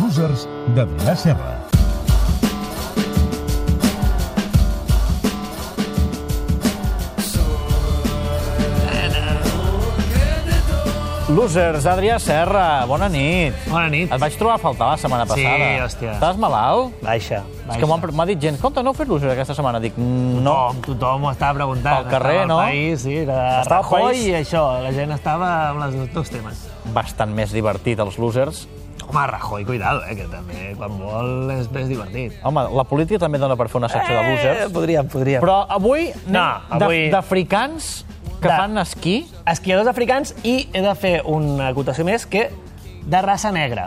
Losers de Vila Serra. Losers, Adrià Serra, bona nit. Bona nit. Et vaig trobar a faltar la setmana Sí, passada. hòstia. Estàs malalt? Baixa. És que m'ho han- m'ha dit gent, compte, no heu fet losers aquesta setmana. Dic, no. Tothom, tothom ho estava preguntant. Pel carrer, estava no? Al país, sí, era Estava al Rajoy país. i això. La gent estava amb els dos temes. Bastant més divertit, els losers. Home, Rajoy, cuidado, eh, que també, quan vol, és més divertit. Home, la política també dona per fer una secció de losers. podríem, podríem. Però Però avui anem Eh, No, avui- de- d'africans que De- fan esquí. esquiadors africans i he de fer una acotació més que de raça negra.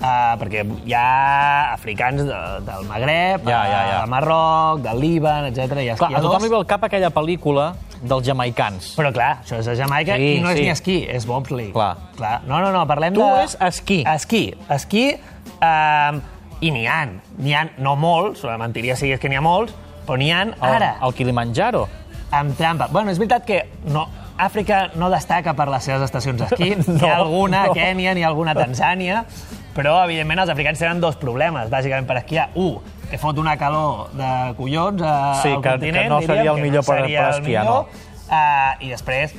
Uh, perquè hi ha africans de, del Magreb, Ja, ja, ja. del Marroc, del Líban, etc. Hi ha Clar, a esquiadors. tothom li ve al cap aquella pel·lícula dels jamaicans. Però clar, això és a Jamaica Sí, sí, i no és sí. ni esquí, és bobsleigh. Clar. clar. No, no, no, parlem Tu de... és esquí. Esquí. Esquí, eh, i n'hi ha, n'hi ha, no molts, la mentiria si és que n'hi ha molts, però n'hi ha ara, El, el Kilimanjaro. amb trampa. Bueno, és veritat que no, Àfrica no destaca per les seves estacions d'esquí. no, hi ha alguna no. a Kènia, ni alguna a Tanzània, però, evidentment, els africans tenen dos problemes, bàsicament, per esquiar. Un, que fot una calor de collons a, Sí, al que- que continent, no seria diríem, el millor que per- no seria per el esquiar, millor. Uh, I després,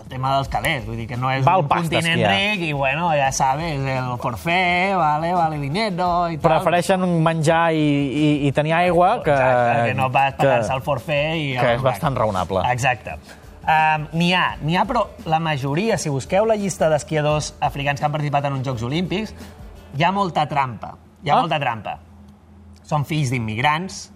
el tema dels calés, vull dir que no és Val un pasta continent esquiar. ric i, bueno, ja sabes, el forfait, vale, vale dinero i tal. Prefereixen menjar i, i, i tenir aigua que... Exacte, que no vas pagar-se el forfait i... que és bastant raonable. Exacte. Um, n'hi ha, n'hi ha, però la majoria, si busqueu la llista d'esquiadors africans que han participat en uns Jocs Olímpics, hi ha molta trampa. Hi ha Ah. ah. molta trampa. Són fills d'immigrants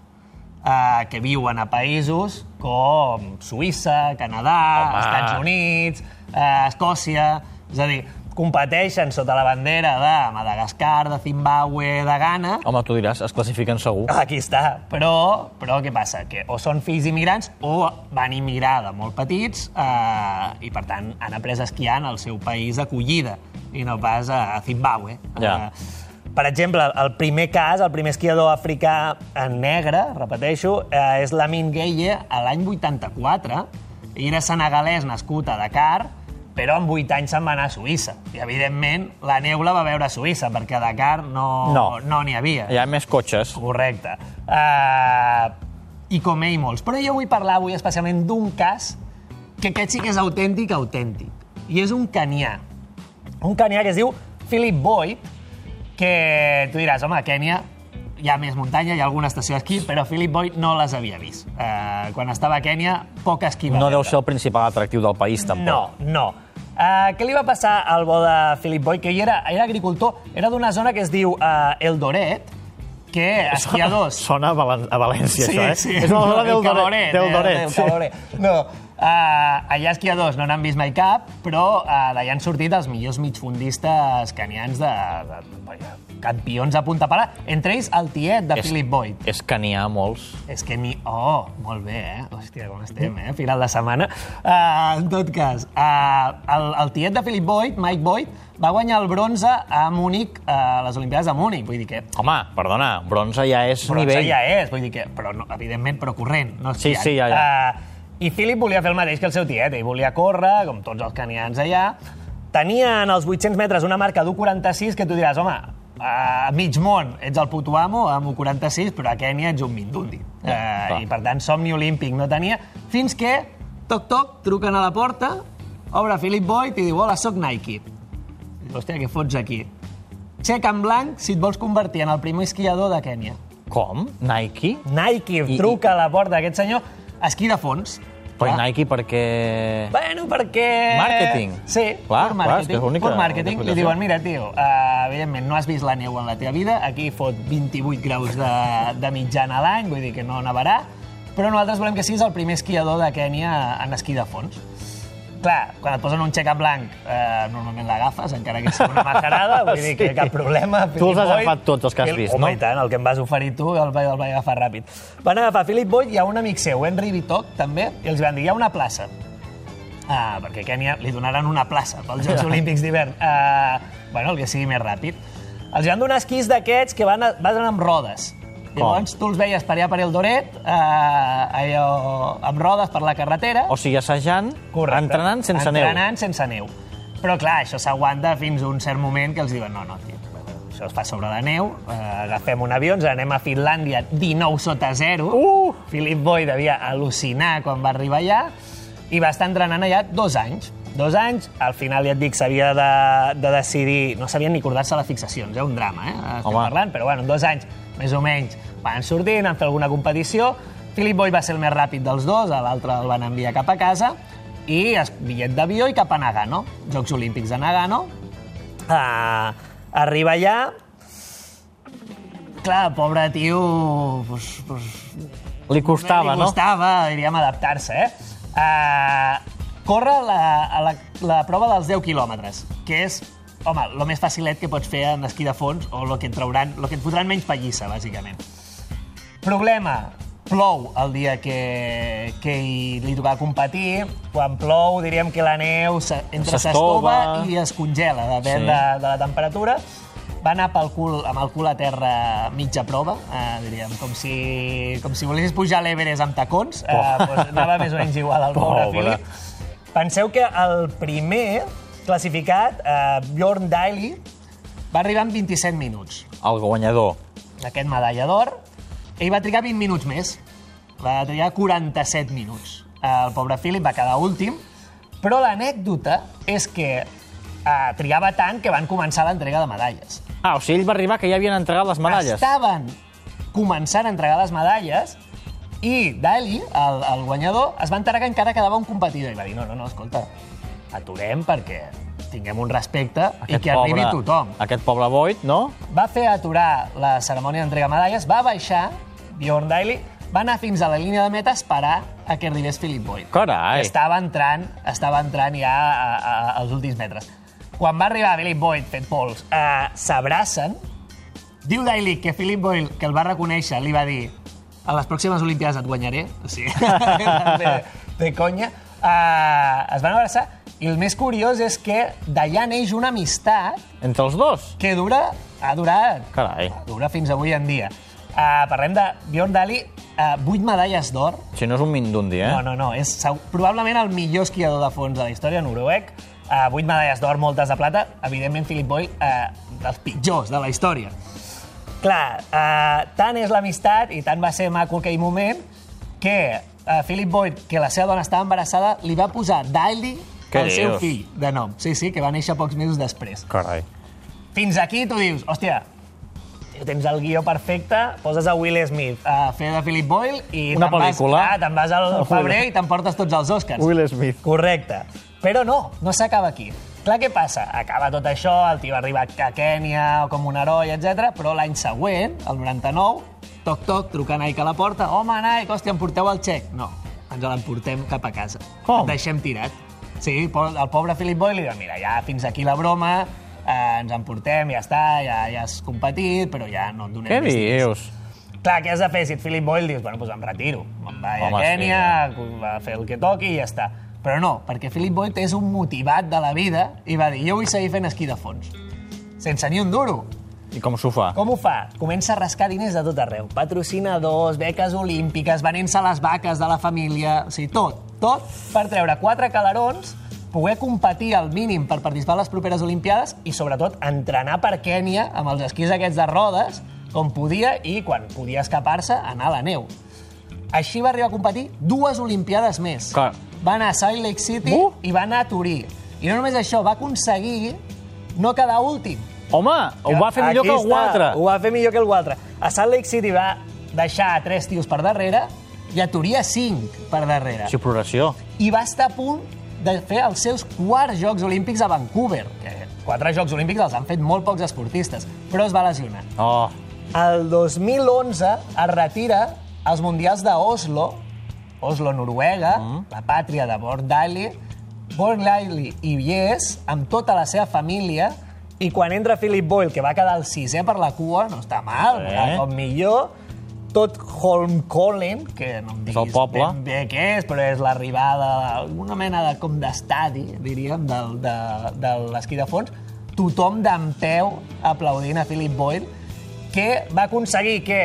uh, que viuen a països com Suïssa, Canadà, Home. Home. Estats Units, uh, Escòcia... És a dir, competeixen sota la bandera de Madagascar, de Zimbàbue, de Ghana, Home, tu diràs, es classifiquen segur. Aquí està. Però, però què passa? Que o són fills d'immigrants o van immigrar de molt petits eh, i, per tant, han après a esquiar en el seu país d'acollida i no pas a, a Zimbabue. Ja. Eh, per exemple, el primer cas, el primer esquiador africà en negre, repeteixo, eh, és Lamin Gueye a l'any 84. Era senegalès nascut a Dakar, però amb 8 anys se'n va anar a Suïssa. I, evidentment, la neu la va veure a Suïssa, perquè a Dakar no No. n'hi no n'hi havia. Hi ha més cotxes. Correcte. Uh, I com ell molts. Però jo vull parlar avui especialment d'un cas que aquest sí que és autèntic, autèntic. I és un canià. Un canià que es diu Philip Boyd, que tu diràs, home, a Kènia hi ha més muntanya, hi ha alguna estació d'esquí, però Philip Boyd no les havia vist. Uh, quan estava a Kènia, poc esquí va No deu veure. ser el principal atractiu del país, tampoc. No, no. Uh, què li va passar al bo de Philip Boy? Que ell era, era agricultor, era d'una zona que es diu uh, El Doret, que esquiadors... Sona a, Valen a València, això, eh? Sí, sí. És una zona del Doret. Caloret, Del eh, Doret. del Caloret. No, uh, allà esquiadors no n'han vist mai cap, però uh, d'allà han sortit els millors migfundistes canians de, de, vaja, campions a punta pala, entre ells el tiet de És- Philip Boyd. És que n'hi ha molts. És que ni... Oh, molt bé, eh? Hòstia, com estem, eh? Final de setmana. Uh, en tot cas, uh, el, el tiet de Philip Boyd, Mike Boyd, va guanyar el bronze a Múnich, uh, a les Olimpiades de Múnich. Vull dir que... Home, perdona, bronze ja és Bronze nivell. ja és, vull dir que... Però, no, evidentment, però corrent, no Sí, esquiant. sí, ja, ja. Uh, I Philip volia fer el mateix que el seu tiet. Ell volia córrer, com tots els canians allà. Tenia en els 800 metres una marca d'1,46 que tu diràs, home, a mig món ets el puto amo amb 1,46, però a Kènia ets un mindundi. Ja, clar. Eh, I per tant, somni olímpic no tenia, fins que, toc, toc, truquen a la porta, obre Philip Boyd i diu, hola, sóc Nike. Diu, Hòstia, què fots aquí? Xec en blanc si et vols convertir en el primer esquiador de Kènia. Com? Nike? Nike I- truca a la porta d'aquest senyor, esquí de fons. Però Clar. i Nike perquè... Bueno, perquè... Màrqueting. Sí, Clar, clar, és pur que màrqueting. és l'única- pur màrqueting. l'única Li diuen, mira, tio, uh, evidentment, no has vist la neu en la teva vida, aquí fot 28 graus de, de mitjana a l'any, vull dir que no nevarà, però nosaltres volem que siguis el primer esquiador de Kènia en esquí de fons. Clar, quan et posen un xec en blanc, eh, normalment l'agafes, encara que sigui una macerada, vull dir que Sí. cap problema. Tu els has Philip Boyd, agafat tots els que has Phil- vist, Home, no? i tant, el que em vas oferir tu el, va- el vaig agafar ràpid. Van agafar Philip Boyd i a un amic seu, Henry Vitoc, també, i els van dir, hi ha una plaça. Ah, perquè a Kènia li donaran una plaça pels Jocs Olímpics d'hivern. Ah, bueno, el que sigui més ràpid. Els van donar esquís d'aquests que van, van anar amb rodes. Llavors, tu els veies per allà per el Doret, eh, allò, amb rodes per la carretera. O sigui, assajant, entrenant sense entrenant neu. sense neu. Però, clar, això s'aguanta fins a un cert moment que els diuen no, no, tio, això es fa sobre la neu, eh, agafem un avió, ens anem a Finlàndia 19 sota 0. Uh! Philip Boy devia al·lucinar quan va arribar allà i va estar entrenant allà dos anys. Dos anys, al final, ja et dic, s'havia de, de decidir... No sabia ni acordar-se les fixacions, eh? un drama, eh? Estem Home. parlant, però bueno, en dos anys, més o menys, van sortint, van fer alguna competició. Philip Boy va ser el més ràpid dels dos, a l'altre el van enviar cap a casa, i es, bitllet d'avió i cap a Nagano, Jocs Olímpics de Nagano. Ah, arriba allà, clar, pobre tio, pues, pues, Li costava, li no? costava, diríem, adaptar-se, eh? Uh, corre la, a la, la prova dels 10 quilòmetres, que és, home, el més facilet que pots fer en esquí de fons o el que et trauran, el que et fotran menys pallissa, bàsicament. Problema, plou el dia que, que hi, li tocava competir. Quan plou, diríem que la neu se- entra S'estova. s'estova i es congela, Sí. depèn sí. de, de la temperatura. Va anar pel cul, amb el cul a terra mitja prova, eh, diríem, com si, com si volessis pujar a l'Everest amb tacons. Eh, Pobre. doncs anava més o menys igual al pobre Pobre. Philip. Penseu que el primer classificat, eh, Bjorn Daly, va arribar en 27 minuts El guanyador. aquest medalla d'or. Ell va trigar 20 minuts més. Va trigar 47 minuts. El pobre Philip va quedar últim. Però l'anècdota és que eh, trigava tant que van començar l'entrega de medalles. Ah, o sigui, ell va arribar que ja havien entregat les medalles. Estaven començant a entregar les medalles i Dali, el, el guanyador, es va enterar que encara quedava un competidor i va dir, no, no, no, escolta, aturem perquè tinguem un respecte i que arribi tothom. Aquest pobre Boyd, no? va fer aturar la cerimònia d'entrega de medalles, va baixar, Bjorn Daly, va anar fins a la línia de meta a esperar a que arribés Philip Boyd. Carai. Estava entrant, estava entrant ja a, a, als últims metres. Quan va arribar Philip Boyd fet pols, eh, s'abracen, diu Daly que Philip Boyd, que el va reconèixer, li va dir a les pròximes Olimpiades et guanyaré, o sigui, de, de conya. Uh, es van abraçar i el més curiós és que d'allà neix una amistat Entre els dos? que dura, ha durat, Carai. dura fins avui en dia. Uh, parlem de Bjorn Dali, uh, 8 medalles d'or. Si no és un mindundi, eh? No, no, no, és seg- probablement el millor esquiador de fons de la història noruec. Uh, 8 medalles d'or, moltes de plata. Evidentment, Philip Boy, uh, dels pitjors de la història. Clar, uh, tant és l'amistat i tant va ser maco aquell moment que uh, Philip Boyd, que la seva dona estava embarassada, li va posar Daly Què al seu dius? fill de nom. Sí, sí, que va néixer pocs mesos després. Carai. Fins aquí tu dius, hòstia, tio, tens el guió perfecte, poses a Will Smith a fer de Philip Boyle i Una te'n vas, pel·lícula. ah, te'n vas al febrer i t'emportes tots els Oscars. Smith. Correcte. Però no, no s'acaba aquí. Clar, què passa? Acaba tot això, el tio arriba a Kènia com un heroi, etc. però l'any següent, el 99, toc, toc, truca Nike a la porta, home, Nike, hòstia, em porteu el xec? No, ens l'emportem cap a casa. Com? Et deixem tirat. Sí, po- el pobre Philip Boyle li diu, mira, ja fins aquí la broma, eh, ens emportem, ja està, ja, ja has competit, però ja no et donem Què més diners. dius? Clar, què has de fer? Si et Philip Boyle dius, bueno, doncs em retiro. Me'n vaig Home, a Kènia, a fer el que toqui i ja està. Però no, perquè Philip Boyle és un motivat de la vida i va dir, jo vull seguir fent esquí de fons. Sense ni un duro. I com s'ho fa? Com ho fa? Comença a rascar diners de tot arreu. Patrocinadors, beques olímpiques, venent-se les vaques de la família... O sigui, tot, tot per treure quatre calarons, poder competir al mínim per participar a les properes Olimpiades i, sobretot, entrenar per Kènia amb els esquís aquests de rodes, com podia, i quan podia escapar-se, anar a la neu. Així va arribar a competir dues Olimpiades més. Clar. Va anar a Salt Lake City Uh! i va anar a Turí. I no només això, va aconseguir no quedar últim, Home, ho va fer millor Aquí que el està, Guatre. Ho va fer millor que el Guatre. A Salt Lake City va deixar a tres tios per darrere i a Turia cinc per darrere. Sí, progressió. I va estar a punt de fer els seus quarts Jocs Olímpics a Vancouver. Que quatre Jocs Olímpics els han fet molt pocs esportistes, però es va lesionar. Oh, El 2011 es retira als Mundials d'Oslo, Oslo, Noruega, mm. la pàtria de Born Daly, Born Daly i Yes, amb tota la seva família, i quan entra Philip Boyle, que va quedar el sisè per la cua, no està mal, Bé. eh? com millor, tot Holmkollen, que no em diguis el poble. ben bé què és, però és l'arribada d'alguna mena de com d'estadi, diríem, del, de, de l'esquí de fons, tothom d'en peu aplaudint a Philip Boyle, que va aconseguir que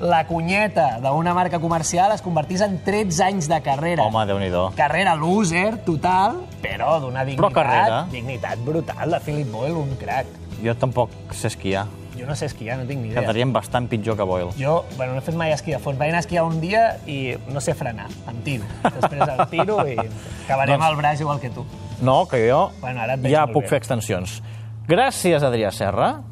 la cunyeta d'una marca comercial es convertís en 13 anys de carrera. Home, Déu-n'hi-do. Carrera loser, total, però d'una dignitat, carrera. dignitat brutal de Philip Boyle, un crac. Jo tampoc sé esquiar. Jo no sé esquiar, no tinc ni idea. Quedaríem bastant pitjor que Boyle. Jo, bueno, no he fet mai esquí de fons. Vaig anar a esquiar un dia i no sé frenar, em tiro. Després em tiro i acabarem Doncs- doncs... el braç igual que tu. No, que jo Bueno, ara et veig ja molt puc bé. fer extensions. Gràcies, Adrià Serra.